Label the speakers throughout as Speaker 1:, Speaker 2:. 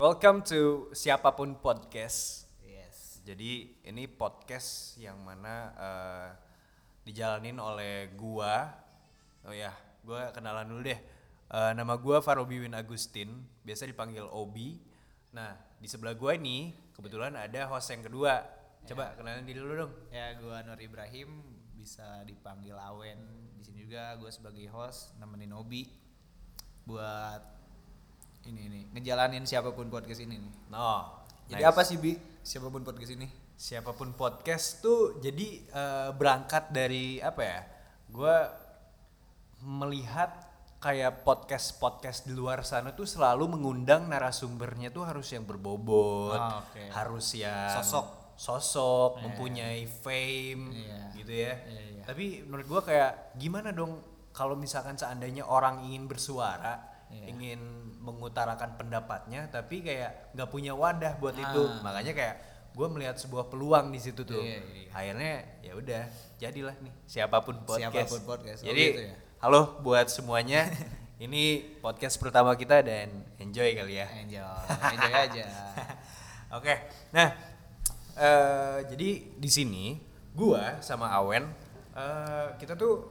Speaker 1: Welcome to siapapun podcast.
Speaker 2: Yes.
Speaker 1: Jadi ini podcast yang mana eh, dijalanin oleh gua. Oh ya, gua kenalan dulu deh. Eh, nama gua Farobi Win Agustin, biasa dipanggil Obi. Nah, di sebelah gua ini kebetulan ada host yang kedua. Coba kenalan diri dulu dong.
Speaker 2: Ya gua Nur Ibrahim bisa dipanggil Awen. Di sini juga gue sebagai host nemenin Obi buat ini nih ngejalanin siapapun podcast ini nih.
Speaker 1: Nah,
Speaker 2: Jadi
Speaker 1: nice.
Speaker 2: apa sih Bi? Siapapun podcast ini?
Speaker 1: siapapun podcast tuh jadi eh, berangkat dari apa ya gue melihat kayak podcast podcast di luar sana tuh selalu mengundang narasumbernya tuh harus yang berbobot
Speaker 2: Ah, oke.
Speaker 1: harus yang
Speaker 2: Sosok.
Speaker 1: sosok mempunyai fame
Speaker 2: Iya.
Speaker 1: gitu ya
Speaker 2: Iya, iya.
Speaker 1: tapi menurut gue kayak gimana dong kalau misalkan seandainya orang ingin bersuara
Speaker 2: Iya.
Speaker 1: ingin mengutarakan pendapatnya tapi kayak nggak punya wadah buat itu
Speaker 2: Ah.
Speaker 1: makanya kayak gue melihat sebuah peluang di situ tuh
Speaker 2: Iya, iya, iya.
Speaker 1: akhirnya ya udah jadilah nih siapapun podcast
Speaker 2: Siapapun podcast. Oh,
Speaker 1: jadi
Speaker 2: gitu ya.
Speaker 1: halo buat semuanya ini podcast pertama kita dan enjoy kali ya
Speaker 2: Enjoy, enjoy aja.
Speaker 1: oke nah eh, jadi di sini gua sama Awen eh, kita tuh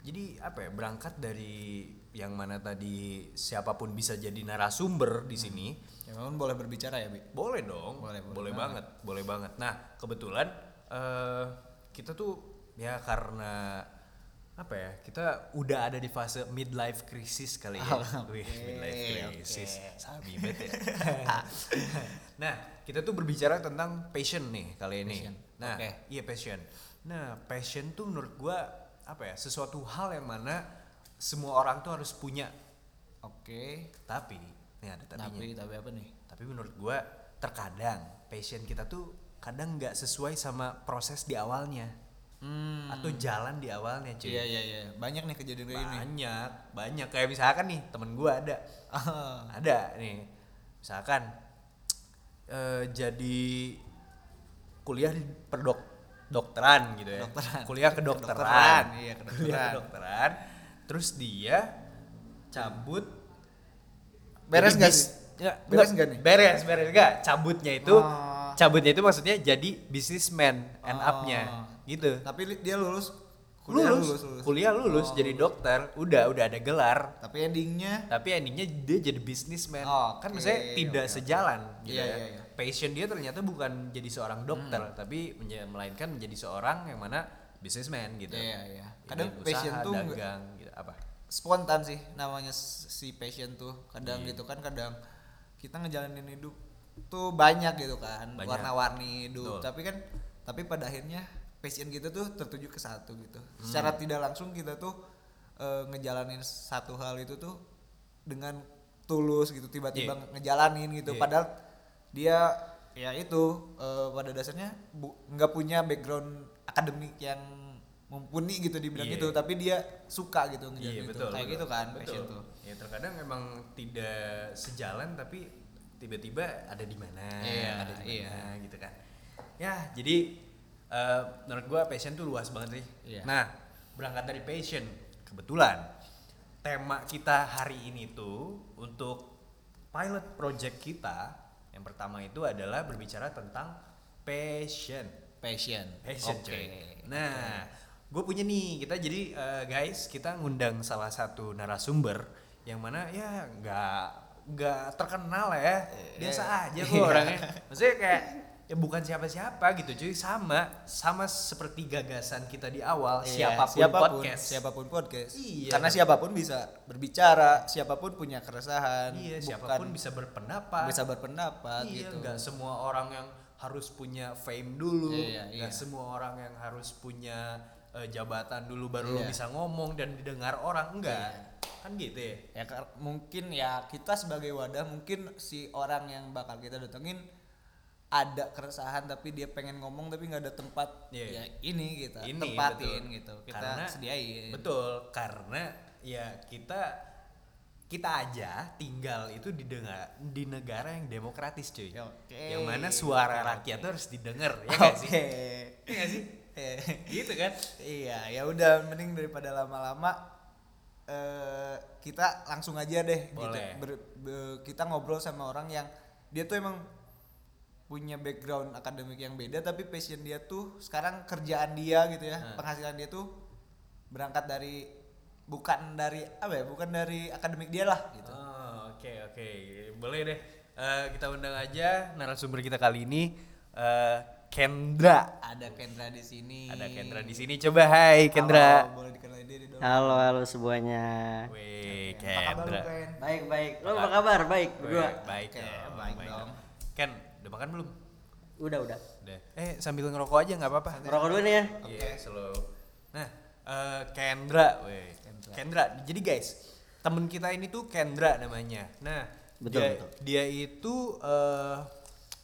Speaker 1: jadi apa ya berangkat dari yang mana tadi siapapun bisa jadi narasumber di sini
Speaker 2: Ya memang boleh berbicara ya Bi.
Speaker 1: boleh dong, boleh,
Speaker 2: Boleh, boleh
Speaker 1: banget. boleh banget. Nah, kebetulan eh kita tuh ya karena apa ya? Kita udah ada di fase midlife crisis kali ya. Wih, midlife crisis. Sabi banget ya. nah, kita tuh berbicara tentang passion nih kali ini.
Speaker 2: Passion,
Speaker 1: Nah,
Speaker 2: oke.
Speaker 1: iya passion. Nah, passion tuh menurut gua apa ya? Sesuatu hal yang mana semua orang tuh harus punya.
Speaker 2: Oke.
Speaker 1: Tapi, nih ada tapinya
Speaker 2: Tapi tapi apa nih?
Speaker 1: tapi menurut gua terkadang passion kita tuh kadang nggak sesuai sama proses di awalnya
Speaker 2: Hmm.
Speaker 1: atau jalan di awalnya cuy
Speaker 2: Iya iya iya. Banyak nih kejadian kayak ini.
Speaker 1: banyak banyak kayak misalkan nih temen gua ada
Speaker 2: Oh.
Speaker 1: ada nih misalkan eh, jadi kuliah di perdok dokteran gitu ya
Speaker 2: Kedokteran.
Speaker 1: kuliah kedokteran,
Speaker 2: Kedokteran, iya,
Speaker 1: kuliah
Speaker 2: kedokteran.
Speaker 1: kedokteran terus dia cabut
Speaker 2: Beres
Speaker 1: Jadi
Speaker 2: nggak
Speaker 1: bis-
Speaker 2: sih?
Speaker 1: Ya,
Speaker 2: Beres
Speaker 1: enggak
Speaker 2: nggak nih?
Speaker 1: Beres, beres enggak? Cabutnya itu
Speaker 2: Oh.
Speaker 1: cabutnya itu maksudnya jadi businessman end
Speaker 2: Oh.
Speaker 1: up-nya gitu.
Speaker 2: Tapi li- dia lulus.
Speaker 1: lulus, kuliah lulus
Speaker 2: Oh,
Speaker 1: jadi dokter, udah udah ada gelar,
Speaker 2: Tapi endingnya
Speaker 1: tapi endingnya dia jadi businessman.
Speaker 2: Oh, Oke,
Speaker 1: kan maksudnya tidak
Speaker 2: oke, oke.
Speaker 1: sejalan gitu
Speaker 2: Iya,
Speaker 1: ya.
Speaker 2: iya, Hmm. iya.
Speaker 1: Passion dia ternyata bukan jadi seorang dokter, tapi menja- melainkan menjadi seorang yang mana businessman gitu.
Speaker 2: Iya, iya.
Speaker 1: Ingin
Speaker 2: Kadang
Speaker 1: usaha,
Speaker 2: passion tuh nggak-
Speaker 1: dagang gitu apa?
Speaker 2: spontan sih namanya s- si passion tuh kadang
Speaker 1: Iya.
Speaker 2: gitu kan kadang kita ngejalanin hidup tuh banyak gitu kan
Speaker 1: Banyak.
Speaker 2: warna-warni
Speaker 1: Betul.
Speaker 2: hidup tapi kan tapi pada akhirnya passion kita tuh tertuju ke satu gitu
Speaker 1: Hmm.
Speaker 2: secara tidak langsung kita tuh eh, ngejalanin satu hal itu tuh dengan tulus gitu tiba-tiba ngejalanin gitu
Speaker 1: Iya.
Speaker 2: padahal dia ya itu eh, pada dasarnya bu- nggak punya background akademik yang mumpuni gitu di bidang
Speaker 1: Iya.
Speaker 2: itu tapi dia suka gitu
Speaker 1: Iya
Speaker 2: gitu.
Speaker 1: betul.
Speaker 2: kayak
Speaker 1: betul.
Speaker 2: gitu kan
Speaker 1: Betul.
Speaker 2: passion tuh
Speaker 1: Ya terkadang memang tidak sejalan tapi tiba-tiba ada di mana,
Speaker 2: Iya,
Speaker 1: ada di
Speaker 2: iya.
Speaker 1: mana gitu kan. Ya, jadi eh, menurut gua passion tuh luas banget sih.
Speaker 2: Iya.
Speaker 1: Nah, berangkat dari passion, kebetulan tema kita hari ini tuh untuk pilot project kita yang pertama itu adalah berbicara tentang passion.
Speaker 2: passion
Speaker 1: Passion,
Speaker 2: oke
Speaker 1: coy. Nah, gue punya nih kita jadi eh, guys kita ngundang salah satu narasumber yang mana ya nggak nggak terkenal lah
Speaker 2: Iya.
Speaker 1: ya biasa aja kok orangnya. Maksudnya kayak ya bukan siapa-siapa gitu cuy sama sama seperti gagasan kita di awal
Speaker 2: Iya,
Speaker 1: siapapun, podcast.
Speaker 2: siapapun podcast
Speaker 1: Iya.
Speaker 2: karena siapapun bisa berbicara siapapun punya keresahan
Speaker 1: Iya,
Speaker 2: bukan
Speaker 1: siapapun bisa berpendapat.
Speaker 2: bisa berpendapat
Speaker 1: iya,
Speaker 2: gitu
Speaker 1: nggak semua orang yang harus punya fame dulu,
Speaker 2: Iya,
Speaker 1: nggak
Speaker 2: iya.
Speaker 1: semua orang yang harus punya eh, jabatan dulu baru lo
Speaker 2: Iya.
Speaker 1: bisa ngomong dan didengar orang, enggak.
Speaker 2: Iya.
Speaker 1: Kan gitu ya.
Speaker 2: ya kar- mungkin ya kita sebagai wadah mungkin si orang yang bakal kita datengin ada keresahan tapi dia pengen ngomong tapi nggak ada tempat
Speaker 1: Iya.
Speaker 2: ya ini kita
Speaker 1: Ini,
Speaker 2: tempatin
Speaker 1: betul.
Speaker 2: gitu kita
Speaker 1: Karena-
Speaker 2: sediain
Speaker 1: Betul, karena ya kita kita aja tinggal itu didengar di negara yang demokratis, cuy.
Speaker 2: Ya, oke.
Speaker 1: Yang mana suara rakyat tuh harus didengar, ya
Speaker 2: Oke.
Speaker 1: nggak sih? Iya nggak sih?
Speaker 2: Eh,
Speaker 1: Gitu kan?
Speaker 2: iya ya udah mending daripada lama-lama eh, kita langsung aja deh
Speaker 1: Boleh.
Speaker 2: gitu. Ber- be- kita ngobrol sama orang yang dia tuh emang punya background akademik yang beda tapi passion dia tuh sekarang kerjaan dia gitu ya.
Speaker 1: Hmm.
Speaker 2: Penghasilan dia tuh berangkat dari bukan dari apa ya? Bukan dari akademik dia lah gitu.
Speaker 1: Oh, oke oke boleh deh Eh, kita undang aja narasumber kita kali ini eh, Kendra
Speaker 2: Ada Kendra di sini.
Speaker 1: ada Kendra di sini coba Hai Kendra
Speaker 2: Halo, boleh dikenalin diri dong.
Speaker 3: Halo, halo semuanya.
Speaker 1: Wih
Speaker 2: Apa kabar lu,
Speaker 1: Kendra
Speaker 2: Ken?
Speaker 3: Baik, baik. Lo apa kabar? Baik, berdua.
Speaker 1: Wih, baik
Speaker 2: Oke,
Speaker 1: dong,
Speaker 2: baik
Speaker 1: baik
Speaker 2: dong.
Speaker 1: dong. Ken udah makan belum
Speaker 3: Udah, udah.
Speaker 1: udah eh sambil ngerokok aja nggak apa-apa
Speaker 3: Merokok dulu nih ya.
Speaker 1: Iya, slow. Nah, eh, Kendra, weh. Kendra. Jadi guys, temen kita ini tuh Kendra namanya. Nah,
Speaker 3: Betul,
Speaker 1: dia,
Speaker 3: betul.
Speaker 1: dia itu eh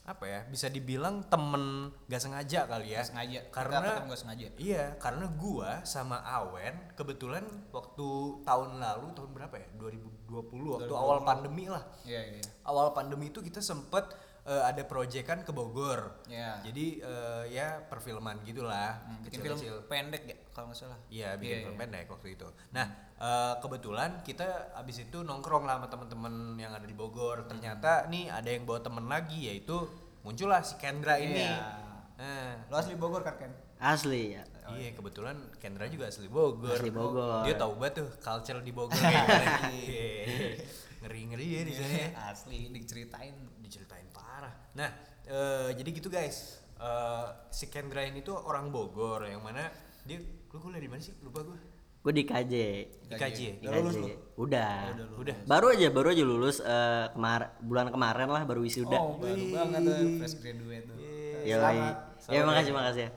Speaker 1: apa ya? Bisa dibilang temen gak sengaja kali ya.
Speaker 2: sengaja. Kita
Speaker 1: Karena
Speaker 2: ketemu nggak sengaja.
Speaker 1: Iya, karena gua sama Awen kebetulan waktu tahun lalu tahun berapa ya? 2020 waktu awal pandemi lah
Speaker 2: Iya, iya. iya.
Speaker 1: awal pandemi itu kita sempet eh, ada proyekan ke Bogor.
Speaker 2: Iya.
Speaker 1: Jadi eh, ya perfilman gitulah,
Speaker 2: Hmm, bikin film
Speaker 1: kecil-kecil.
Speaker 2: pendek ya kalau nggak salah.
Speaker 1: Iya, bikin
Speaker 2: Iya,
Speaker 1: film
Speaker 2: iya.
Speaker 1: pendek waktu itu. Nah, eh, kebetulan kita abis itu nongkrong lah sama teman-teman yang ada di Bogor.
Speaker 2: Hmm.
Speaker 1: Ternyata nih ada yang bawa temen lagi yaitu muncullah si Kendra ini.
Speaker 2: Iya.
Speaker 1: Nah,
Speaker 2: Lo asli Bogor kan Ken?
Speaker 3: Asli ya.
Speaker 1: Iya kebetulan Kendra juga asli Bogor.
Speaker 3: Asli Bogor.
Speaker 1: Dia tahu banget tuh culture di Bogor kayak gimana. ngeri ngeri ya di sana. ya.
Speaker 2: asli diceritain.
Speaker 1: diceritain parah. Nah, eh, jadi gitu guys. Eh, si Kendra ini tuh orang Bogor yang mana dia lu kuliah di mana sih? Lupa gue.
Speaker 3: Gue di KJ.
Speaker 1: IKJ.
Speaker 2: Iya,
Speaker 3: Di
Speaker 2: Udah lulus
Speaker 3: KJ.
Speaker 2: lu?
Speaker 1: Iya.
Speaker 3: Udah.
Speaker 1: Udah. Udah.
Speaker 3: Baru aja, baru aja lulus eh, kemar- bulan kemarin lah baru wisuda.
Speaker 2: Oh, baru
Speaker 1: Wih.
Speaker 2: banget tuh fresh graduate tuh.
Speaker 1: Iya.
Speaker 3: Yoi. Ya, makasih, makasih ya.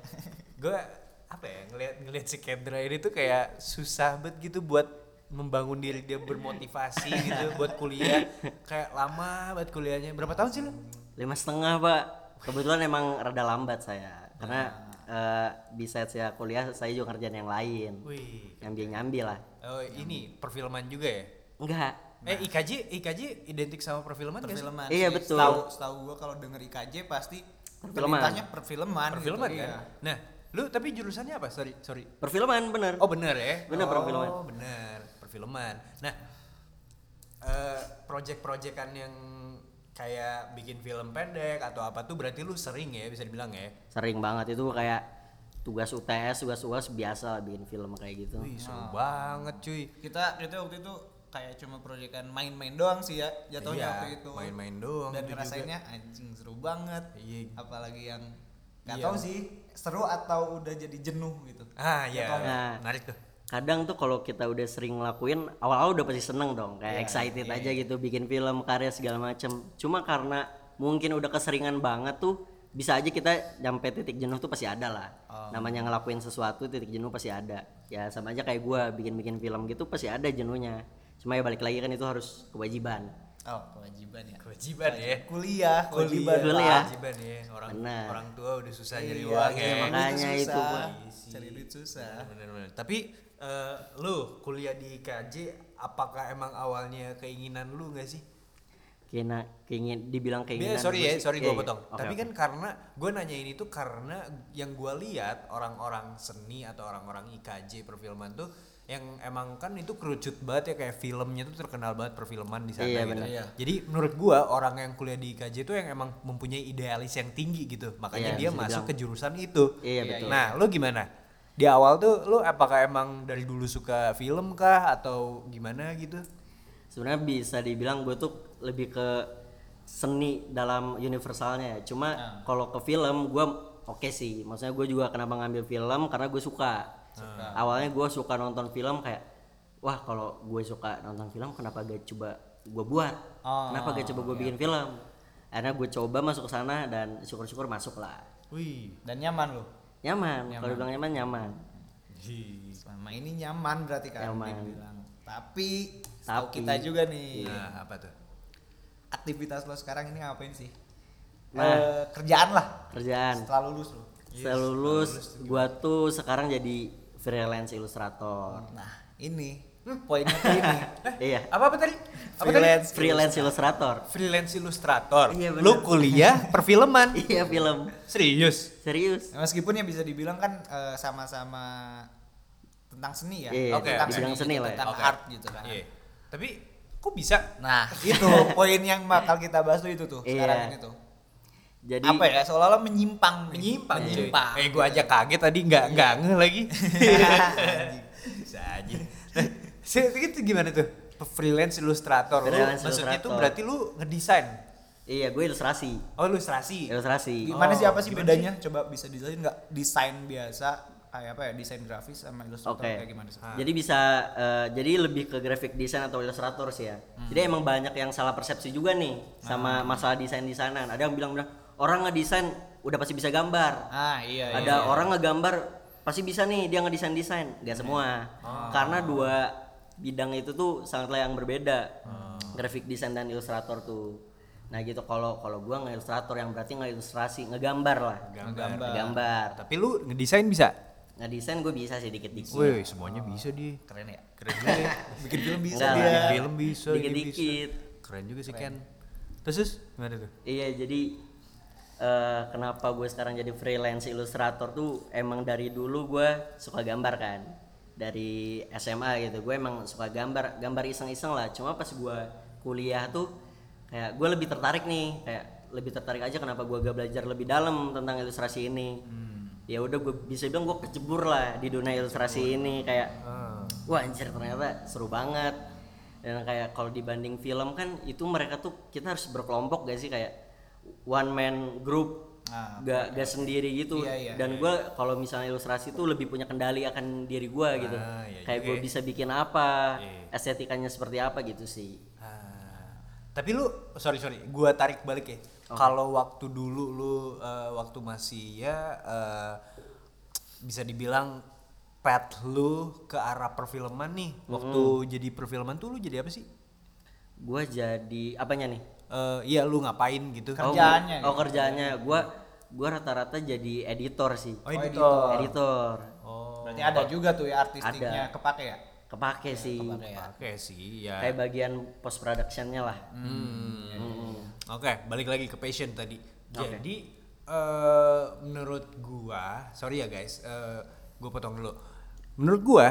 Speaker 1: Gue apa ya ngelihat ngelihat si Kendra ini tuh kayak susah banget gitu buat membangun diri dia bermotivasi gitu buat kuliah kayak lama banget kuliahnya berapa tahun sih lu?
Speaker 3: Lima setengah, Pak. Kebetulan emang rada lambat saya. Karena eh, di saat saya kuliah, saya juga kerjaan yang lain.
Speaker 1: Wih,
Speaker 3: Nyambi-nyambi lah.
Speaker 1: oh, ini perfilman juga ya?
Speaker 3: Enggak.
Speaker 1: Eh IKJ IKJ identik sama perfilman nggak sih?
Speaker 2: Perfilman.
Speaker 3: Iya,
Speaker 2: sih.
Speaker 3: betul.
Speaker 2: Setahu setahu gua kalau denger IKJ pasti
Speaker 3: Perfilman.
Speaker 2: pendidikannya perfilman. gitu,
Speaker 1: perfilman
Speaker 2: iya.
Speaker 1: kan. Nah, lu tapi jurusannya apa? Sorry, sorry.
Speaker 3: Perfilman bener.
Speaker 1: Oh bener ya? oh,
Speaker 3: Bener, perfilman.
Speaker 1: bener perfilman. Nah, eh project-projectan yang kayak bikin film pendek atau apa tuh berarti lu sering ya bisa dibilang ya?
Speaker 3: sering banget itu kayak tugas UTS tugas UAS biasa lah bikin film kayak gitu
Speaker 1: Wih
Speaker 2: Nah.
Speaker 1: seru banget cuy.
Speaker 2: Kita kita waktu itu kayak cuma proyekan main-main doang sih ya jatuhnya
Speaker 1: Iya,
Speaker 2: waktu itu.
Speaker 1: main-main doang
Speaker 2: Dan
Speaker 1: itu
Speaker 2: ngerasainnya anjing seru banget.
Speaker 1: gitu Iya.
Speaker 2: Apalagi yang nggak
Speaker 1: Iya.
Speaker 2: tahu sih seru atau udah jadi jenuh gitu.
Speaker 1: Ah ya,
Speaker 3: Nah.
Speaker 1: menarik tuh.
Speaker 3: kadang tuh kalau kita udah sering ngelakuin awal-awal udah pasti seneng dong
Speaker 1: Iya,
Speaker 3: kayak excited aja gitu bikin film karya segala macem cuma karena mungkin udah keseringan banget tuh bisa aja kita sampai titik jenuh tuh pasti ada lah
Speaker 1: Oh.
Speaker 3: namanya ngelakuin sesuatu titik jenuh pasti ada ya sama aja kayak gua bikin-bikin film gitu pasti ada jenuhnya cuma ya balik lagi kan itu harus kewajiban
Speaker 2: Oh, kewajiban ya.
Speaker 1: Kewajiban ya.
Speaker 2: Kuliah,
Speaker 1: Kewajiban,
Speaker 2: kewajiban.
Speaker 3: Kuliah.
Speaker 1: Kewajiban ya. Orang
Speaker 3: Bener.
Speaker 1: orang tua udah susah
Speaker 2: Iya,
Speaker 1: nyari uang ya.
Speaker 2: cari duit
Speaker 3: makanya itu,
Speaker 2: susah. Iya
Speaker 3: Pak.
Speaker 2: Cari duit susah.
Speaker 1: Bener-bener. Tapi eh, lu kuliah di KJ apakah emang awalnya keinginan lu gak sih?
Speaker 3: kena keingin dibilang
Speaker 1: Bi-
Speaker 3: keinginan
Speaker 1: sorry
Speaker 3: gua
Speaker 1: ya,
Speaker 3: sih-
Speaker 1: sorry
Speaker 3: iya,
Speaker 1: gue
Speaker 3: iya.
Speaker 1: potong.
Speaker 3: Oke,
Speaker 1: Tapi
Speaker 3: oke.
Speaker 1: kan karena gue nanya ini tuh karena yang gue lihat orang-orang seni atau orang-orang IKJ perfilman tuh yang emang kan itu kerucut banget ya kayak filmnya tuh terkenal banget perfilman di sana
Speaker 3: Iya,
Speaker 1: gitu.
Speaker 3: benar.
Speaker 2: Iya.
Speaker 1: Jadi menurut gue orang yang kuliah di IKJ tuh yang emang mempunyai idealis yang tinggi gitu. Makanya
Speaker 3: Iya,
Speaker 1: dia
Speaker 3: bisa
Speaker 1: masuk
Speaker 3: dibilang.
Speaker 1: ke jurusan itu.
Speaker 3: Iya, betul.
Speaker 1: Nah, lu gimana? Di awal tuh lu apakah emang dari dulu suka film kah atau gimana gitu?
Speaker 3: sebenarnya bisa dibilang gue tuh lebih ke seni dalam universalnya ya cuma kalau ke film gue oke sih maksudnya gue juga kenapa ngambil film karena gue suka awalnya gue suka nonton film kayak wah kalau gue suka nonton film kenapa gak coba gue buat kenapa gak coba gue bikin film akhirnya gue coba masuk ke sana dan syukur-syukur masuk lah
Speaker 1: Wih.
Speaker 2: Dan nyaman loh.
Speaker 3: nyaman, kalau bilang nyaman nyaman
Speaker 2: Selama ini nyaman berarti kan
Speaker 3: Nyaman.
Speaker 2: dibilang. Tapi, tahu
Speaker 3: Tapi.
Speaker 2: kita juga
Speaker 3: Iya.
Speaker 2: nih.
Speaker 1: Nah, apa tuh?
Speaker 2: Aktivitas lo sekarang ini ngapain sih?
Speaker 3: Nah.
Speaker 2: Eh, kerjaan lah.
Speaker 3: kerjaan
Speaker 2: Setelah lulus lo.
Speaker 3: setelah lulus gue tuh sekarang jadi freelance ilustrator
Speaker 2: Nah, ini poinnya tuh ini.
Speaker 3: iya
Speaker 1: Apa-apa tadi? Apa tadi?
Speaker 2: Freelance.
Speaker 3: freelance ilustrator
Speaker 1: freelance ilustrator.
Speaker 3: Iya, bener.
Speaker 1: Lu kuliah perfilman.
Speaker 3: iya film
Speaker 1: Serius.
Speaker 3: serius
Speaker 2: Meskipun ya bisa dibilang kan eh, sama-sama tentang seni ya
Speaker 3: Iya,
Speaker 1: Oke,
Speaker 2: tentang
Speaker 1: di
Speaker 3: bidang seni
Speaker 2: gitu,
Speaker 3: lah ya.
Speaker 2: tentang
Speaker 1: Oke.
Speaker 2: art gitu kan
Speaker 1: Iya. Tapi kok bisa?
Speaker 2: nah itu poin yang bakal kita bahas tuh itu tuh sekarang
Speaker 3: Iya.
Speaker 2: ini tuh
Speaker 3: Jadi
Speaker 2: apa ya seolah-olah menyimpang
Speaker 1: Menyimpang, cuy.
Speaker 2: menyimpang
Speaker 1: Eh gua aja kaget tadi nggak nggak nge lagi.
Speaker 2: Anjing.
Speaker 1: bisa aja. Nah, se- itu gimana tuh? Freelance ilustrator lu.
Speaker 3: Freelance
Speaker 1: Maksudnya itu
Speaker 3: ilustrator.
Speaker 1: berarti lu ngedesain.
Speaker 3: iya gue ilustrasi.
Speaker 1: Oh, ilustrasi.
Speaker 3: Ilustrasi.
Speaker 2: gimana sih
Speaker 1: Oh,
Speaker 2: apa sih
Speaker 1: gimana
Speaker 2: bedanya coba bisa dijelasin nggak desain biasa kayak apa ya desain grafis sama ilustrator
Speaker 3: Oke.
Speaker 2: kayak gimana sih
Speaker 1: Ah.
Speaker 3: Jadi bisa eh, jadi lebih ke graphic design atau ilustrator sih ya.
Speaker 2: Hmm.
Speaker 3: Jadi emang banyak yang salah persepsi juga nih
Speaker 2: Ah.
Speaker 3: sama masalah desain desainan. Ada yang bilang bilang orang ngedesain udah pasti bisa gambar.
Speaker 2: ah iya iya,
Speaker 3: Ada orang ngegambar pasti bisa nih dia ngedesain desain. Gak semua.
Speaker 2: Oh.
Speaker 3: Karena dua bidang itu tuh sangatlah yang berbeda.
Speaker 2: Oh.
Speaker 3: Graphic design dan ilustrator tuh. Nah gitu kalau kalau gua nggak ilustrator yang berarti nggak ilustrasi ngegambar lah.
Speaker 1: Gambar.
Speaker 3: Ngegambar.
Speaker 1: Tapi lu ngedesain bisa?
Speaker 3: Ngedesain gue bisa sih dikit-dikit.
Speaker 1: Wih, semuanya bisa di.
Speaker 2: keren ya
Speaker 1: Keren juga ya.
Speaker 2: bikin film bisa
Speaker 3: Enggak
Speaker 2: dia
Speaker 3: lah.
Speaker 1: Bikin film bisa, ini
Speaker 3: Dikit-dikit.
Speaker 1: bisa. Keren juga sih Ken. Terus, terus gimana tuh?
Speaker 3: Iya jadi eh, kenapa gue sekarang jadi freelance ilustrator tuh emang dari dulu gue suka gambar kan dari SMA gitu gue emang suka gambar gambar iseng-iseng lah cuma pas gue kuliah tuh kayak gue lebih tertarik nih kayak lebih tertarik aja kenapa gue gak belajar lebih dalam tentang ilustrasi ini ya udah gue bisa bilang gue kecebur lah di dunia ilustrasi ini kayak wah anjir ternyata seru banget dan kayak kalau dibanding film kan itu mereka tuh kita harus berkelompok gak sih kayak one man group
Speaker 2: Ah,
Speaker 3: gak gak sendiri gitu
Speaker 2: Iya, iya,
Speaker 3: dan gue kalau misalnya ilustrasi tuh lebih punya kendali akan diri gue gitu
Speaker 1: Ah, iya
Speaker 3: kayak
Speaker 1: juga
Speaker 3: gue
Speaker 1: ya.
Speaker 3: bisa bikin apa
Speaker 2: Iya.
Speaker 3: estetikanya seperti apa gitu sih
Speaker 1: Ah, Tapi lu, sorry sorry, gua tarik balik ya. Kalau waktu dulu lu eh, waktu masih ya eh, bisa dibilang path lu ke arah perfilman nih. Waktu jadi perfilman tuh lu jadi apa sih?
Speaker 3: gue jadi apanya nih
Speaker 1: Eh, iya lu ngapain gitu?
Speaker 3: Oh, gua-
Speaker 2: Kerjaannya
Speaker 3: oh, kerjaannya gue gue rata-rata jadi editor sih
Speaker 1: Oh, editor.
Speaker 3: editor
Speaker 1: Oh,
Speaker 2: berarti ada juga tuh ya artistiknya kepake ya
Speaker 1: Iya.
Speaker 3: kepake sih
Speaker 2: kepake ya
Speaker 1: Oke sih, ya.
Speaker 3: kayak bagian post productionnya lah
Speaker 1: Hmm.
Speaker 2: Hmm.
Speaker 1: Oke, balik lagi ke passion tadi. Jadi eh, menurut gua, sorry ya guys, eh, gua potong dulu. Menurut gua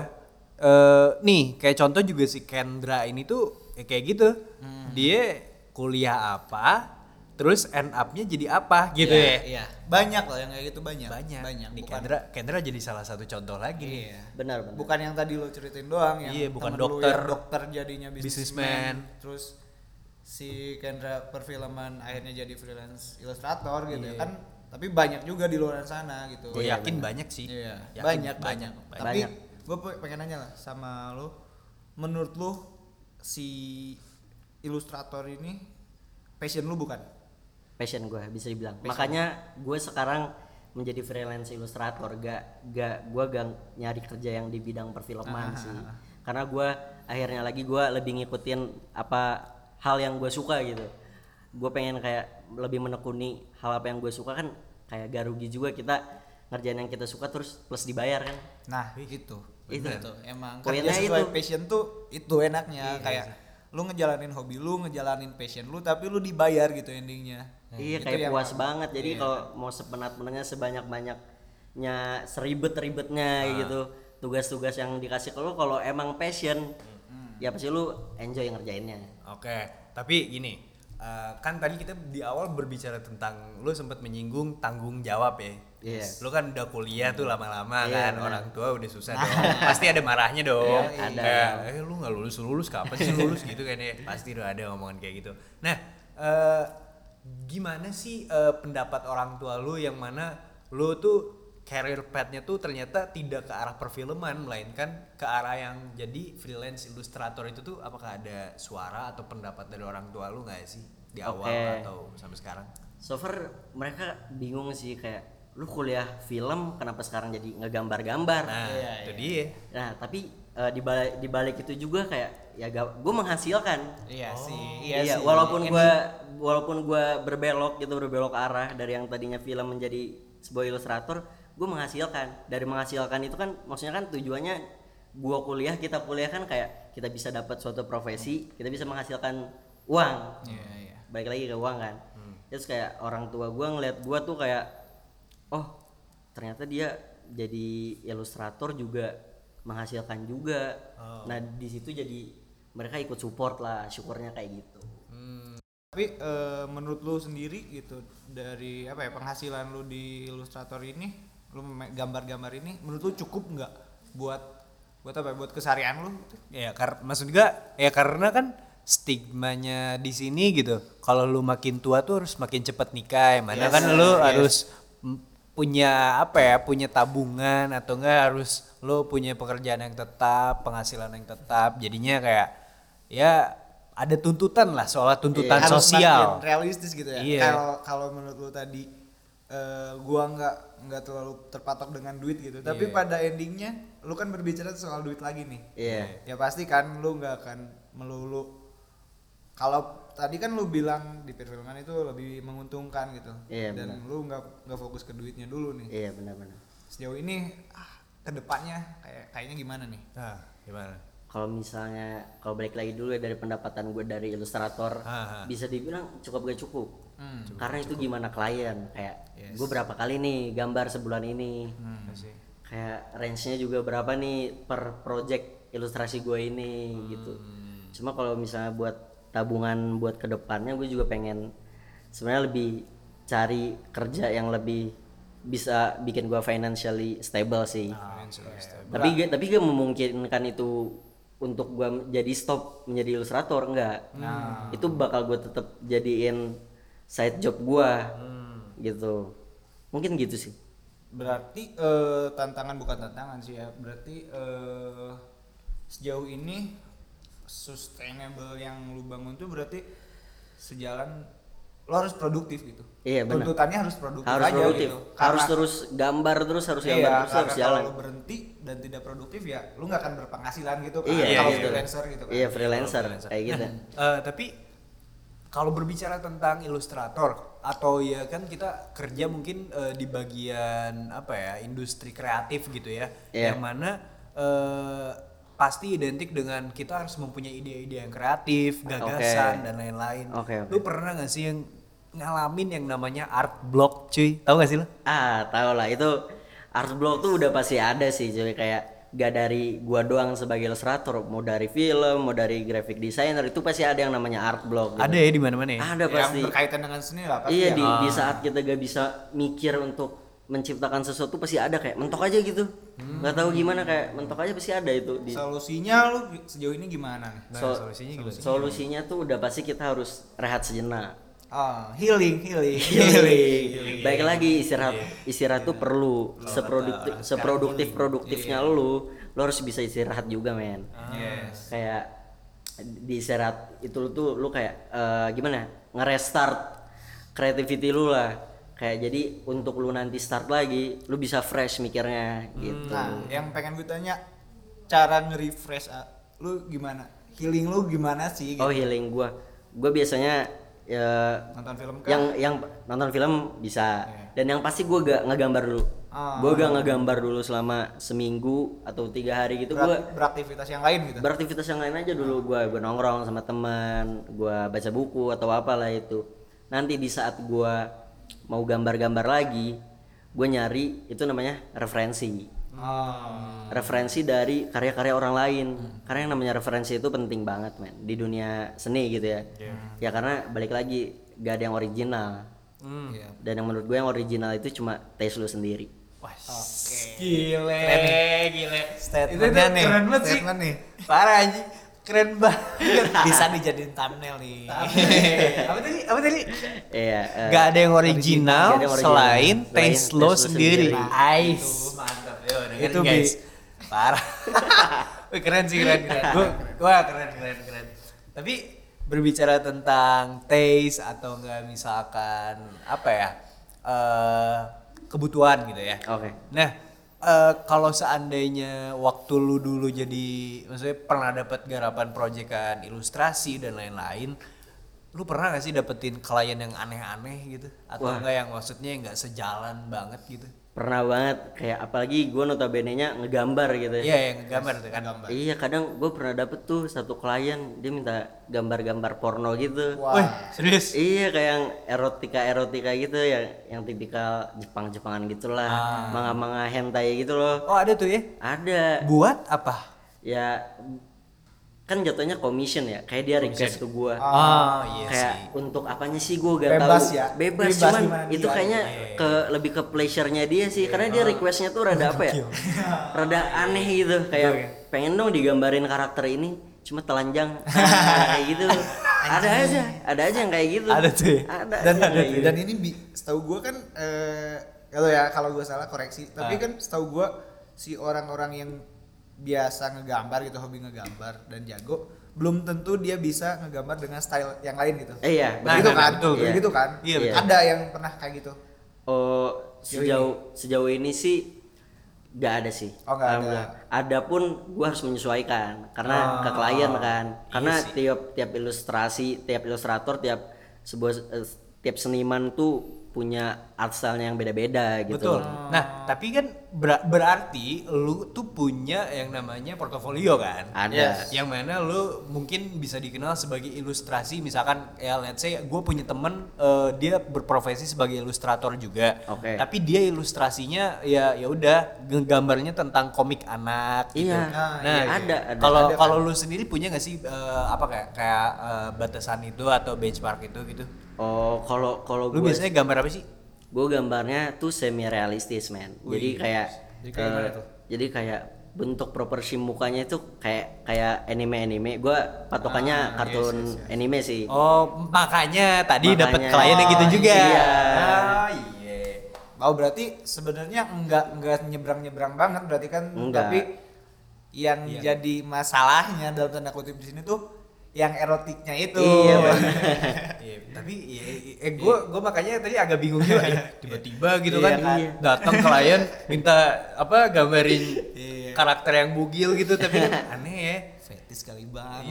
Speaker 1: eh, nih kayak contoh juga si Kendra ini tuh ya kayak gitu.
Speaker 2: Hmm.
Speaker 1: Dia kuliah apa, terus end up-nya jadi apa gitu ya.
Speaker 2: iya banyak loh yang kayak gitu banyak
Speaker 1: Banyak.
Speaker 2: banyak
Speaker 1: Nih
Speaker 2: bukan
Speaker 1: Kendra, Kendra jadi salah satu contoh lagi nih.
Speaker 2: iya
Speaker 3: benar benar
Speaker 2: bukan yang tadi lo ceritain doang yang
Speaker 1: Iya, bukan
Speaker 2: temen lu
Speaker 1: dokter.
Speaker 2: yang dokter jadinya
Speaker 1: Businessman.
Speaker 2: bisnisman terus si Kendra perfilman akhirnya jadi freelance ilustrator gitu ya kan tapi banyak juga di luar sana gitu
Speaker 1: Gue Iya. yakin banyak sih.
Speaker 2: Iya,
Speaker 1: Yakin
Speaker 2: banyak, banyak Tapi
Speaker 3: Banyak.
Speaker 2: gue pengen nanya lah sama lu, menurut lu si ilustrator ini passion lu bukan?
Speaker 3: passion gue bisa dibilang makanya gue sekarang menjadi freelance ilustrator gak gak gue gak nyari kerja yang di bidang perfilman sih karena gue akhirnya lagi gue lebih ngikutin apa hal yang gue suka gitu gue pengen kayak lebih menekuni hal apa yang gue suka kan kayak gak rugi juga kita ngerjain yang kita suka terus plus dibayar kan
Speaker 2: Nah, itu.
Speaker 3: Itu.
Speaker 2: Itu emang kerja
Speaker 3: Poinnya
Speaker 2: sesuai
Speaker 3: itu. Iya,
Speaker 2: passion tuh itu enaknya kayak lu ngejalanin hobi lu, ngejalanin passion lu tapi lu dibayar gitu endingnya. Gitu ya.
Speaker 3: Iya
Speaker 2: Itu
Speaker 3: kayak
Speaker 2: yang- Iya.
Speaker 3: puas banget. Jadi kalau mau sepenat-penatnya sebanyak-banyaknya seribet-ribetnya
Speaker 2: Ah.
Speaker 3: gitu. Tugas-tugas yang dikasih ke lu kalau emang passion ya pasti lu enjoy ngerjainnya.
Speaker 1: Oke, tapi gini, eh, kan tadi kita di awal berbicara tentang lu sempat menyinggung tanggung jawab ya.
Speaker 3: Iya.
Speaker 1: Lu kan udah kuliah tuh lama-lama
Speaker 3: Iya,
Speaker 1: kan,
Speaker 3: benar. Nah.
Speaker 1: orang tua udah susah dong. Pasti ada marahnya dong.
Speaker 3: Iya, ada.
Speaker 1: Kayak, eh lu nggak lulus lulus kapan sih lulus gitu kan ya. Pasti udah ada omongan kayak gitu. Nah, eh, gimana sih eh, pendapat orang tua lu yang mana lu tuh career path-nya tuh ternyata tidak ke arah perfilman melainkan ke arah yang jadi freelance ilustrator itu tuh apakah ada suara atau pendapat dari orang tua lu nggak sih di awal
Speaker 3: Oke.
Speaker 1: atau sampai sekarang?
Speaker 3: So far mereka bingung sih kayak lu kuliah film kenapa sekarang jadi ngegambar-gambar.
Speaker 1: Nah,
Speaker 2: Iya,
Speaker 1: itu
Speaker 2: iya.
Speaker 1: dia.
Speaker 3: Nah, tapi eh, di balik di balik itu juga kayak ya gue menghasilkan.
Speaker 2: Iya sih, iya,
Speaker 3: Iya,
Speaker 2: sih.
Speaker 3: walaupun
Speaker 2: Ini-
Speaker 3: gua walaupun gua berbelok gitu berbelok arah dari yang tadinya film menjadi sebuah ilustrator, gue menghasilkan. Dari menghasilkan itu kan maksudnya kan tujuannya gua kuliah, kita kuliah kan kayak kita bisa dapat suatu profesi, kita bisa menghasilkan uang.
Speaker 2: Iya, iya.
Speaker 3: Balik lagi ke uang kan. Terus kayak orang tua gua ngeliat gua tuh kayak oh, ternyata dia jadi ilustrator juga menghasilkan juga nah di situ jadi mereka ikut support lah syukurnya kayak gitu
Speaker 2: Tapi eh, menurut lu sendiri gitu dari apa ya penghasilan lu di Illustrator ini, lu mema- gambar-gambar ini menurut lu cukup nggak buat buat apa? ya, Buat keseharian lu? gitu?
Speaker 1: Ya kar maksud juga ya karena kan stigmanya di sini gitu. Kalau lu makin tua tuh harus makin cepet nikah. yang Mana kan lu harus m- punya apa ya, punya tabungan atau enggak harus lu punya pekerjaan yang tetap, penghasilan yang tetap. Jadinya kayak ya ada tuntutan lah soal tuntutan
Speaker 2: Iya. Harus
Speaker 1: sosial.
Speaker 2: makin realistis gitu ya.
Speaker 1: Iya.
Speaker 2: Kalau kalau menurut lu tadi eh, gua nggak nggak terlalu terpatok dengan duit gitu. Tapi
Speaker 1: Iya.
Speaker 2: pada endingnya lu kan berbicara soal duit lagi nih.
Speaker 3: iya
Speaker 2: Ya pasti kan lu nggak akan melulu kalau tadi kan lu bilang di perfilman itu lebih menguntungkan gitu.
Speaker 3: Iya,
Speaker 2: Dan lu nggak nggak fokus ke duitnya dulu nih.
Speaker 3: iya benar-benar
Speaker 2: Sejauh ini ah, kedepannya kayak kayaknya gimana nih?
Speaker 1: Nah, gimana?
Speaker 3: kalau misalnya kalau balik lagi dulu ya dari pendapatan gue dari ilustrator
Speaker 1: Ah, ah.
Speaker 3: bisa dibilang cukup gak cukup karena itu gimana klien kayak gue berapa kali nih gambar sebulan ini
Speaker 1: Hmm.
Speaker 3: kayak range-nya juga berapa nih per project ilustrasi gue ini gitu cuma kalau misalnya buat tabungan buat kedepannya gue juga pengen sebenarnya lebih cari kerja yang lebih bisa bikin gue financially stable sih tapi gak, tapi gak memungkinkan itu untuk gua jadi stop menjadi ilustrator enggak
Speaker 2: Nah.
Speaker 3: itu bakal gue tetap jadiin side job gua
Speaker 2: Hmm.
Speaker 3: gitu mungkin gitu sih
Speaker 2: Berarti eh, tantangan bukan tantangan sih ya. Berarti eh, sejauh ini sustainable yang lu bangun tuh berarti sejalan lo harus produktif gitu.
Speaker 3: Iya, benar.
Speaker 2: Tuntutannya harus produktif
Speaker 3: harus
Speaker 2: aja
Speaker 3: produktif
Speaker 2: gitu.
Speaker 3: harus
Speaker 2: Karena-
Speaker 3: terus gambar terus harus
Speaker 2: Iya,
Speaker 3: gambar terus
Speaker 2: karena
Speaker 3: harus jalan
Speaker 2: Kalau lu berhenti dan tidak produktif ya, lu nggak akan berpenghasilan gitu kan.
Speaker 3: iya
Speaker 2: kalau
Speaker 3: gitu.
Speaker 2: freelancer gitu kan.
Speaker 3: iya freelancer kayak gitu
Speaker 1: Eh, tapi kalau berbicara tentang ilustrator atau ya kan kita kerja mungkin eh, di bagian apa ya industri kreatif gitu ya
Speaker 3: Iya.
Speaker 1: yang mana eh, pasti identik dengan kita harus mempunyai ide-ide yang kreatif, gagasan
Speaker 3: Oke.
Speaker 1: dan lain-lain.
Speaker 3: Oke, oke.
Speaker 1: Lu pernah gak sih yang ngalamin yang namanya art block, cuy? Tahu gak sih lu?
Speaker 3: ah tau lah itu art blog tuh udah pasti ada sih jadi kayak gak dari gua doang sebagai ilustrator mau dari film mau dari graphic designer itu pasti ada yang namanya art blog gitu.
Speaker 1: Ada ya di mana-mana ya?
Speaker 3: ada
Speaker 2: Yang
Speaker 3: pasti
Speaker 2: berkaitan dengan seni lah pasti. ya.
Speaker 3: iya di,
Speaker 1: Ah.
Speaker 3: di saat kita gak bisa mikir untuk menciptakan sesuatu pasti ada kayak mentok aja gitu
Speaker 1: Hmm.
Speaker 3: nggak tahu gimana kayak mentok aja pasti ada itu di
Speaker 2: Solusinya lu sejauh ini gimana nih?
Speaker 1: Nah,
Speaker 3: so-
Speaker 1: solusinya gimana?
Speaker 3: solusinya tuh udah pasti kita harus rehat sejenak
Speaker 2: Ah, healing, healing.
Speaker 3: baik lagi istirahat istirahat tuh perlu seproduktif seproduktif produktifnya lu lu harus bisa istirahat juga men
Speaker 2: Yes.
Speaker 3: kayak di istirahat itu lu tuh lu kayak eh, gimana ngerestart creativity lu lah kayak jadi untuk lu nanti start lagi lu bisa fresh mikirnya gitu
Speaker 2: Nah, yang pengen gue tanya cara nge-refresh ah, lu gimana? Healing lu gimana sih? gitu?
Speaker 3: oh healing gua gua biasanya ya
Speaker 2: Nonton film kan?
Speaker 3: yang yang nonton film bisa dan yang pasti gue gak ngegambar dulu gue gak ngegambar dulu selama seminggu atau tiga hari gitu gue
Speaker 2: beraktivitas yang lain gitu.
Speaker 3: beraktivitas yang lain aja dulu gue gue nongkrong sama teman gue baca buku atau apalah itu nanti di saat gue mau gambar-gambar lagi gue nyari itu namanya referensi
Speaker 1: Hmm.
Speaker 2: Ah,
Speaker 3: referensi dari karya-karya orang lain karena yang namanya referensi itu penting banget men di dunia seni gitu ya ya karena balik lagi gak ada yang original
Speaker 1: Hmm.
Speaker 2: iya.
Speaker 3: dan yang menurut gue yang original itu cuma taste lu sendiri
Speaker 1: Gile, gile.
Speaker 2: Statementnya nih.
Speaker 1: keren banget sih.
Speaker 2: Statement nih.
Speaker 1: Parah anjing. Keren banget.
Speaker 4: bisa dijadiin thumbnail nih
Speaker 1: apa tadi? Apa tadi?
Speaker 3: iya eh,
Speaker 1: Gak ada yang original,
Speaker 3: Nggak ada yang original.
Speaker 1: selain
Speaker 3: Selain
Speaker 1: taste
Speaker 3: taste
Speaker 1: lo
Speaker 3: lo
Speaker 1: sendiri.
Speaker 3: sendiri.
Speaker 1: Ais. Mantap. Yo, dengerin
Speaker 2: Itu, Bi.
Speaker 1: guys. Parah. Wih, keren sih, keren, keren. Gua- Wah, keren, keren, keren. Tapi berbicara tentang taste atau enggak misalkan apa ya? eh kebutuhan gitu ya.
Speaker 3: oke
Speaker 1: Nah, eh, kalau seandainya waktu lu dulu jadi, maksudnya pernah dapat garapan proyekan ilustrasi dan lain-lain, lu pernah gak sih dapetin klien yang aneh-aneh gitu? Atau
Speaker 3: Wah.
Speaker 1: enggak yang maksudnya nggak sejalan banget gitu?
Speaker 3: pernah banget kayak apalagi gue notabene nya ngegambar gitu ya
Speaker 1: Iya, yang gambar tuh kan.
Speaker 3: iya kadang gue pernah dapet tuh satu klien dia minta gambar-gambar porno gitu
Speaker 1: Wih, serius.
Speaker 3: Iya kayak yang erotika erotika gitu ya, yang tipikal Jepang Jepangan gitulah,
Speaker 1: Ah.
Speaker 3: manga-manga hentai gitu loh.
Speaker 1: Oh, ada tuh ya.
Speaker 3: Ada
Speaker 1: Buat apa?
Speaker 3: ya kan jatuhnya commission ya, kayak dia request ke gua.
Speaker 1: Ah, iya
Speaker 3: kayak
Speaker 1: sih.
Speaker 3: untuk apanya sih gua
Speaker 5: Bebas
Speaker 3: gak tahu.
Speaker 5: ya?
Speaker 3: Bebas,
Speaker 5: Bebas
Speaker 3: cuman
Speaker 5: gimana
Speaker 3: itu
Speaker 5: dia.
Speaker 1: Iya,
Speaker 3: kayaknya ke lebih ke pleasure-nya dia sih, karena
Speaker 1: oh.
Speaker 3: dia requestnya tuh rada apa ya? rada aneh gitu, kayak pengen dong digambarin karakter ini cuma telanjang kayak gitu. Ada aja, ada aja yang kayak gitu.
Speaker 1: Ada tuh ya?
Speaker 3: Ada.
Speaker 5: dan
Speaker 3: aja yang kayak gitu.
Speaker 5: dan ini bi, setahu gue kan eh, kalau ya kalau gue salah koreksi tapi kan setahu gue si orang-orang yang biasa ngegambar gitu hobi ngegambar dan jago belum tentu dia bisa ngegambar dengan style yang lain gitu
Speaker 3: Eh, iya,
Speaker 1: Nah,
Speaker 5: begitu
Speaker 1: nah,
Speaker 5: kan
Speaker 1: betul.
Speaker 5: begitu kan
Speaker 1: Iya,
Speaker 3: betul.
Speaker 5: ada yang pernah kayak gitu
Speaker 3: Oh, sejauh sejauh ini sih nggak ada sih.
Speaker 5: Oh, nggak ada.
Speaker 3: Alhamdulillah. Ada pun gue harus menyesuaikan karena
Speaker 5: Ah,
Speaker 3: ke klien kan.
Speaker 5: iya
Speaker 3: Karena tiap tiap ilustrasi, tiap ilustrator, tiap sebuah eh, tiap seniman tuh punya art style-nya yang beda-beda
Speaker 1: Betul.
Speaker 3: gitu.
Speaker 1: Nah, tapi kan ber- berarti lu tuh punya yang namanya portofolio kan?
Speaker 3: Ada.
Speaker 1: Yang mana lu mungkin bisa dikenal sebagai ilustrasi misalkan ya let's say gue punya temen eh, dia berprofesi sebagai ilustrator juga.
Speaker 3: Oke.
Speaker 1: Tapi dia ilustrasinya ya ya udah gambarnya tentang komik anak gitu.
Speaker 3: Iya.
Speaker 5: Nah,
Speaker 1: Nah,
Speaker 3: iya, ada ada.
Speaker 1: kalau kalau lu sendiri punya nggak sih eh, apa kayak kayak eh, batasan itu atau benchmark itu gitu?
Speaker 3: oh, kalau kalau
Speaker 1: Lu
Speaker 3: gua-
Speaker 1: biasanya gambar apa sih?
Speaker 3: gue gambarnya tuh semi realistis men jadi kayak jadi kayak, jadi kayak bentuk proporsi mukanya itu kayak kayak anime anime gue patokannya kartun anime sih
Speaker 1: Oh, makanya tadi dapat
Speaker 3: Makanya.
Speaker 1: klien yang gitu
Speaker 3: Oh,
Speaker 1: juga.
Speaker 3: iya.
Speaker 1: Ah, iya.
Speaker 5: oh berarti sebenarnya enggak enggak nyebrang nyebrang banget berarti kan
Speaker 3: Enggak. Iya.
Speaker 5: tapi yang jadi masalahnya dalam tanda kutip di sini tuh yang erotiknya itu
Speaker 3: Iya, benar.
Speaker 1: Iya, tapi iya, iya, eh gue gue makanya tadi agak bingung juga ya. tiba-tiba gitu
Speaker 5: Iya,
Speaker 1: kan,
Speaker 5: kan?
Speaker 1: datang klien minta apa gambarin karakter yang bugil gitu tapi aneh ya
Speaker 5: fetis kali bang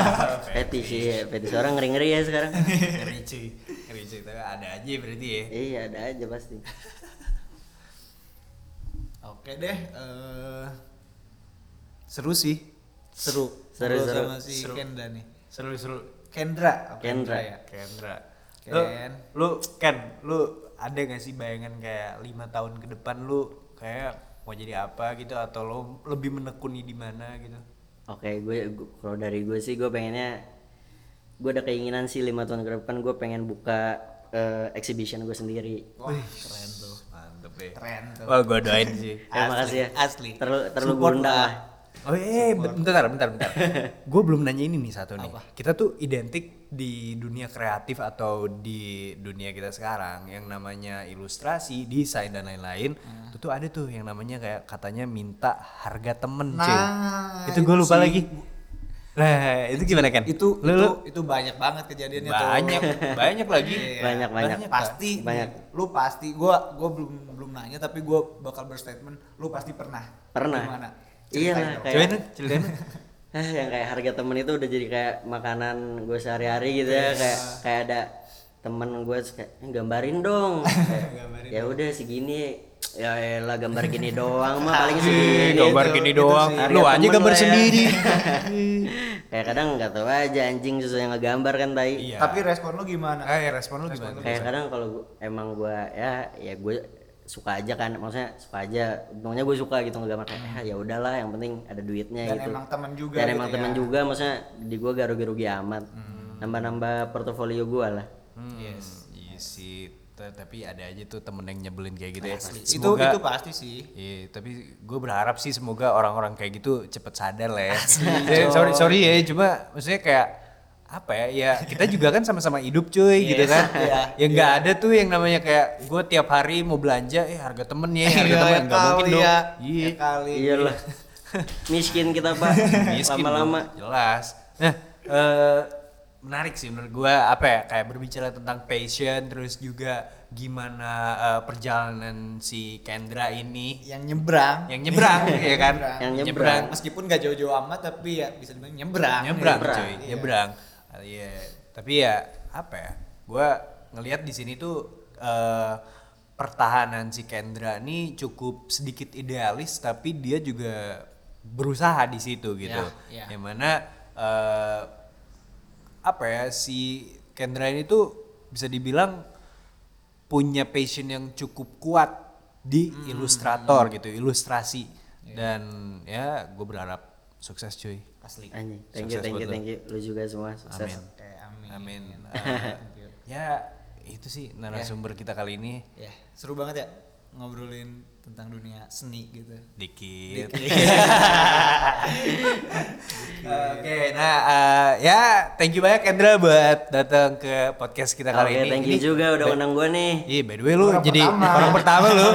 Speaker 3: fetish iya fetish orang ngeri ngeri ya sekarang
Speaker 1: ngeri cuy ngeri cuy tapi ada aja berarti ya
Speaker 3: iya ada aja pasti
Speaker 5: Oke deh, eh, seru sih, seru,
Speaker 3: Seru,
Speaker 5: Ngobrol
Speaker 3: seru.
Speaker 5: sama si
Speaker 1: Seru.
Speaker 5: Kendra nih,
Speaker 1: seru-seru
Speaker 5: Kendra, apa
Speaker 3: Kendra.
Speaker 5: ya,
Speaker 1: Kendra lu
Speaker 5: Ken.
Speaker 1: lu Ken lu ada gak sih bayangan kayak lima tahun ke depan lu kayak mau jadi apa gitu atau lu lebih menekuni di mana gitu
Speaker 3: oke gue gue- kalau dari gue sih gue pengennya gue ada keinginan sih lima tahun ke depan gue pengen buka eh, exhibition gue sendiri
Speaker 1: keren tuh mantep ya
Speaker 5: keren tuh,
Speaker 1: wah gue doain sih
Speaker 3: terima kasih ya
Speaker 5: asli.
Speaker 3: terlalu terlalu
Speaker 5: Support
Speaker 3: gurunda
Speaker 5: lah.
Speaker 3: lah
Speaker 1: Oh iya, iya, bentar, bentar, bentar. gue belum nanya ini nih satu nih. Kita tuh identik di dunia kreatif atau di dunia kita sekarang yang namanya ilustrasi, desain dan lain-lain.
Speaker 5: Hmm.
Speaker 1: Itu tuh ada tuh yang namanya kayak katanya minta harga temen, cuy.
Speaker 5: Nah,
Speaker 1: Itu gue
Speaker 5: itu
Speaker 1: lupa
Speaker 5: sih.
Speaker 1: lagi. Nah, itu gimana kan?
Speaker 5: itu,
Speaker 1: Lu-
Speaker 5: itu,
Speaker 1: lu-
Speaker 5: itu banyak banget kejadiannya tuh.
Speaker 1: banyak, banyak lagi.
Speaker 5: Iya.
Speaker 3: Banyak, banyak.
Speaker 5: pasti,
Speaker 3: Banyak.
Speaker 5: lu pasti, gua, gua belum, belum nanya tapi gua bakal berstatement, lu pasti pernah,
Speaker 3: pernah
Speaker 5: Gimana? Ceritain
Speaker 3: iya lah
Speaker 5: dong.
Speaker 3: kayak
Speaker 1: Cobain, lu, ceritain lu.
Speaker 3: Hah, Eh, yang kayak harga temen itu udah jadi kayak makanan gue sehari-hari gitu ya kayak kayak ada temen gue kayak "Eh, gambarin dong Kayak, ya udah segini ya lah gambar gini doang mah paling
Speaker 5: Iya,
Speaker 3: segini
Speaker 1: Ih, Iya, gambar
Speaker 3: gitu.
Speaker 1: gini
Speaker 3: Gitu
Speaker 1: doang.
Speaker 3: sih.
Speaker 1: Lu
Speaker 3: Harga
Speaker 1: aja
Speaker 3: temen
Speaker 1: gambar
Speaker 3: lah ya.
Speaker 1: sendiri.
Speaker 3: kayak kadang nggak tahu aja anjing sesuai yang ngegambar kan tai
Speaker 1: Iya.
Speaker 5: Tapi respon lu gimana?
Speaker 1: eh, respon lu gimana?
Speaker 3: kayak kadang kalau gua- emang gue ya ya gue suka aja kan maksudnya suka aja untungnya gue suka gitu ngegambar kayak "Ah, ya udahlah yang penting ada duitnya
Speaker 5: Dan
Speaker 3: gitu
Speaker 5: emang temen juga
Speaker 3: dan
Speaker 5: gitu
Speaker 3: emang
Speaker 5: ya.
Speaker 3: temen juga maksudnya di gue gak rugi-rugi amat nambah-nambah portofolio gue lah
Speaker 1: Hmm, Iya sih, t- tapi ada aja tuh temen yang nyebelin kayak gitu ya.
Speaker 5: Itu, itu pasti sih.
Speaker 1: Iya, tapi gue berharap sih semoga orang-orang kayak gitu cepet sadar lah ya. Ya, sorry sorry ya, cuma maksudnya kayak apa ya? Ya kita juga kan sama-sama hidup cuy, gitu kan. Yang nggak ada tuh yang namanya kayak gue tiap hari mau belanja, eh harga temen ya, harga
Speaker 5: Iya,
Speaker 1: temen nggak mungkin
Speaker 5: kali
Speaker 1: dong.
Speaker 5: ya.
Speaker 1: Iya,
Speaker 5: Ya kali.
Speaker 3: iyalah miskin kita pak
Speaker 1: miskin
Speaker 3: lama-lama
Speaker 1: dong, jelas nah eh, menarik sih menurut gua apa ya kayak berbicara tentang passion terus juga gimana eh, perjalanan si Kendra ini
Speaker 5: yang nyebrang
Speaker 1: yang nyebrang ya kan
Speaker 3: Yang nyebrang.
Speaker 5: meskipun gak jauh-jauh amat tapi ya bisa dibilang nyebrang
Speaker 1: nyebrang
Speaker 3: Nyebrang.
Speaker 1: cuy
Speaker 2: iya.
Speaker 1: nyebrang Ah, iya tapi ya apa ya gue ngelihat di sini tuh eh, pertahanan si Kendra nih cukup sedikit idealis tapi dia juga berusaha di situ gitu.
Speaker 5: Ya, ya.
Speaker 1: Yang mana eh, apa ya si Kendra ini tuh bisa dibilang punya passion yang cukup kuat di ilustrator gitu, ilustrasi. Dan ya gue berharap sukses cuy.
Speaker 5: asli
Speaker 3: Anjing, thank
Speaker 1: Sukses
Speaker 3: you, thank you,
Speaker 1: buat lo.
Speaker 3: thank you. Lu juga semua sukses.
Speaker 1: Amin.
Speaker 5: kayak amin
Speaker 1: Amin. Eh, ya itu sih narasumber kita kali ini
Speaker 5: ya
Speaker 2: Seru banget ya ngobrolin tentang dunia seni gitu.
Speaker 1: dikit.
Speaker 5: Iya.
Speaker 1: Oke, nah eh, ya thank you banyak Endra buat datang ke podcast kita
Speaker 3: Oke,
Speaker 1: Nah, kali ini.
Speaker 3: thank you
Speaker 1: Ini-
Speaker 3: juga udah undang gua nih.
Speaker 1: Iya, by the way lu jadi orang pertama lu.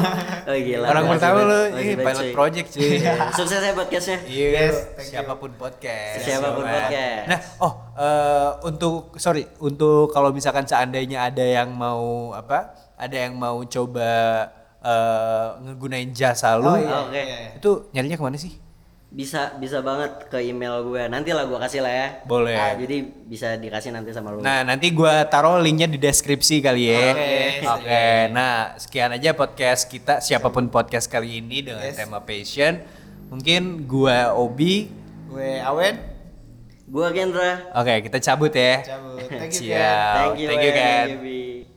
Speaker 3: Oh gila.
Speaker 1: orang
Speaker 3: makasih
Speaker 1: pertama
Speaker 3: banget,
Speaker 1: lu,
Speaker 3: makasih
Speaker 1: ini
Speaker 3: banget,
Speaker 1: pilot
Speaker 3: cuy.
Speaker 1: project cuy.
Speaker 3: Sukses ya podcastnya.
Speaker 1: Iya,
Speaker 5: Yes, thank you.
Speaker 1: siapapun podcast.
Speaker 3: Siapapun
Speaker 1: Siapa.
Speaker 3: podcast.
Speaker 1: Nah, oh eh, untuk sorry, untuk kalau misalkan seandainya ada yang mau apa, ada yang mau coba eh, ngegunain jasa
Speaker 5: Oh,
Speaker 1: lu,
Speaker 5: iya.
Speaker 3: Oh, Oke.
Speaker 1: iya, itu nyarinya kemana sih?
Speaker 3: Bisa bisa banget ke email gua. Nanti lah gua kasih lah ya.
Speaker 1: Boleh.
Speaker 3: Ah, jadi bisa dikasih nanti sama lu.
Speaker 1: Nah, nanti gua taruh linknya di deskripsi kali ya. Oke. Nah, sekian aja podcast kita siapapun podcast kali ini dengan tema passion. Mungkin gua Obi.
Speaker 2: Gue Awen.
Speaker 3: Gua Kendra.
Speaker 1: Oke, kita cabut ya.
Speaker 2: Cabut. Thank you,
Speaker 1: Ciao.
Speaker 3: Thank you.
Speaker 1: Thank you,
Speaker 3: Wen.
Speaker 1: Ken.
Speaker 3: Thank you, Bi.